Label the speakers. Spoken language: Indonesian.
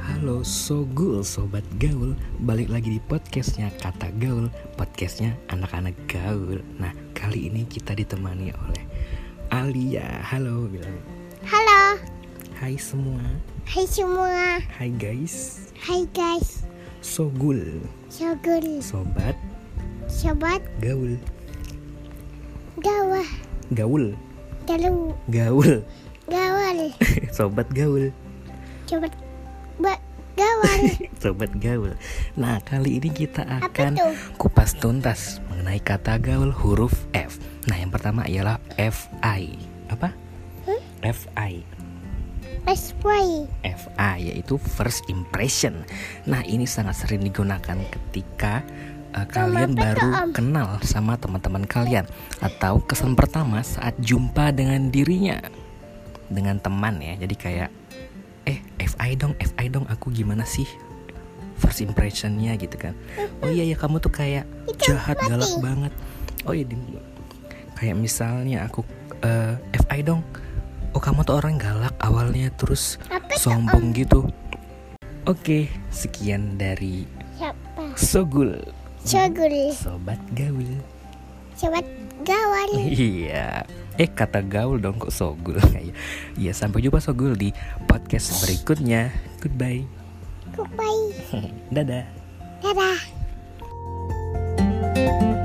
Speaker 1: Halo Sogul Sobat Gaul Balik lagi di podcastnya Kata Gaul Podcastnya anak-anak gaul Nah kali ini kita ditemani oleh Alia Halo bilang
Speaker 2: Halo,
Speaker 1: Hai semua
Speaker 2: hai semua.
Speaker 1: Hai guys
Speaker 2: Hai guys.
Speaker 1: Sogul
Speaker 2: Sogul,
Speaker 1: Sobat
Speaker 2: sobat
Speaker 1: Gaul
Speaker 2: gawah,
Speaker 1: Gaul
Speaker 2: telu,
Speaker 1: Gaul
Speaker 2: gawal,
Speaker 1: Sobat Gaul
Speaker 2: sobat ba, gawal.
Speaker 1: Sobat Gaul Nah kali ini kita
Speaker 2: Apa
Speaker 1: akan
Speaker 2: tuh?
Speaker 1: kupas tuntas Mengenai kata gaul huruf F Nah yang pertama ialah FI Apa?
Speaker 2: Hmm?
Speaker 1: FI
Speaker 2: Aswai,
Speaker 1: FA yaitu first impression. Nah, ini sangat sering digunakan ketika uh, kalian
Speaker 2: apa
Speaker 1: baru
Speaker 2: tuh, Om?
Speaker 1: kenal sama teman-teman kalian atau kesan pertama saat jumpa dengan dirinya dengan teman ya. Jadi kayak eh FI dong, FI dong aku gimana sih? First impressionnya gitu kan. Oh iya ya kamu tuh kayak jahat galak banget. Oh iya Dim. Kayak misalnya aku eh, FI dong. Oh kamu tuh orang galak awalnya terus
Speaker 2: apa tuh,
Speaker 1: sombong gitu. Oke, sekian dari
Speaker 2: siapa?
Speaker 1: Sogul,
Speaker 2: Sogul,
Speaker 1: sobat gaul.
Speaker 2: sobat gawal.
Speaker 1: Iya. Eh kata gaul dong kok Sogul kayak. Iya, sampai jumpa Sogul di podcast berikutnya. Goodbye.
Speaker 2: Kupai,
Speaker 1: Dadah.
Speaker 2: dadah.
Speaker 1: Oke,